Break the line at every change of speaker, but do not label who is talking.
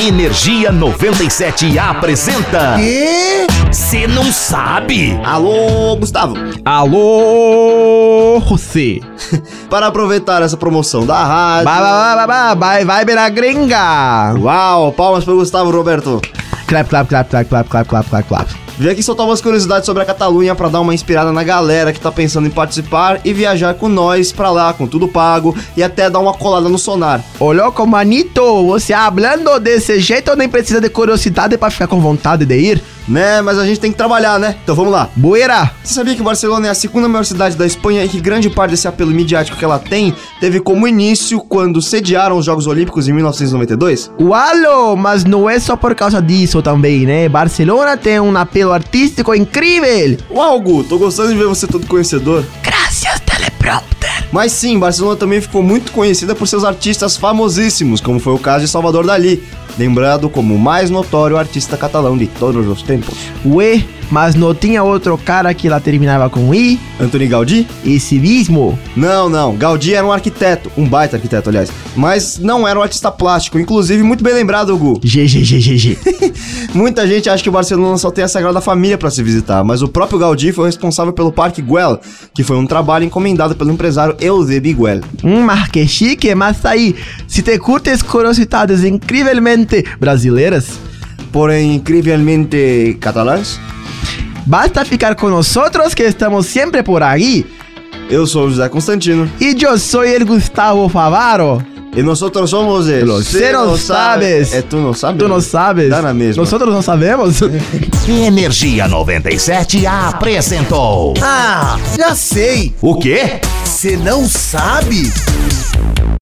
Energia 97 apresenta.
E...
Você não sabe?
Alô, Gustavo.
Alô, você.
Para aproveitar essa promoção da rádio.
Ba, ba, ba, ba, ba, Vai, vai, virar gringa.
Uau, palmas pro Gustavo Roberto.
Clap, clap, clap, clap, clap, clap, clap, clap, clap.
Vim aqui soltar umas curiosidades sobre a Catalunha para dar uma inspirada na galera que tá pensando em participar e viajar com nós pra lá, com tudo pago e até dar uma colada no sonar.
Ô, louco, manito, você hablando desse jeito nem precisa de curiosidade pra ficar com vontade de ir?
Né, mas a gente tem que trabalhar, né? Então vamos lá.
Bueira.
Você sabia que Barcelona é a segunda maior cidade da Espanha e que grande parte desse apelo midiático que ela tem teve como início quando sediaram os Jogos Olímpicos em 1992?
Ualo, mas não é só por causa disso também, né? Barcelona tem um apelo artístico incrível.
Uau, Gu, tô gostando de ver você todo conhecedor.
Graças, teleprompter.
Mas sim, Barcelona também ficou muito conhecida por seus artistas famosíssimos, como foi o caso de Salvador Dali, lembrado como o mais notório artista catalão de todos os tempos.
Ué, mas não tinha outro cara que lá terminava com I?
Antoni Gaudí?
Esse mesmo?
Não, não, Gaudí era um arquiteto, um baita arquiteto, aliás, mas não era um artista plástico, inclusive muito bem lembrado, Gu.
GGGGG.
Muita gente acha que o Barcelona só tem a Sagrada Família para se visitar, mas o próprio Gaudí foi o responsável pelo Parque Güell, que foi um trabalho encomendado pelo empresário Eusebi Güell.
Hum, mas que chique, mas aí, se te curtes curiosidades incrivelmente brasileiras,
Porém, incrivelmente catalãs.
basta ficar com nosotros que estamos sempre por aí.
Eu sou o José Constantino
E eu sou el Gustavo Favaro.
e nós outros somos
Los
Você
Não Sabes.
É, tu não sabes?
Tu não sabes?
Dá na mesma. É.
Nosotros não sabemos?
Energia 97 apresentou.
Ah, já sei.
O quê?
Você não sabe?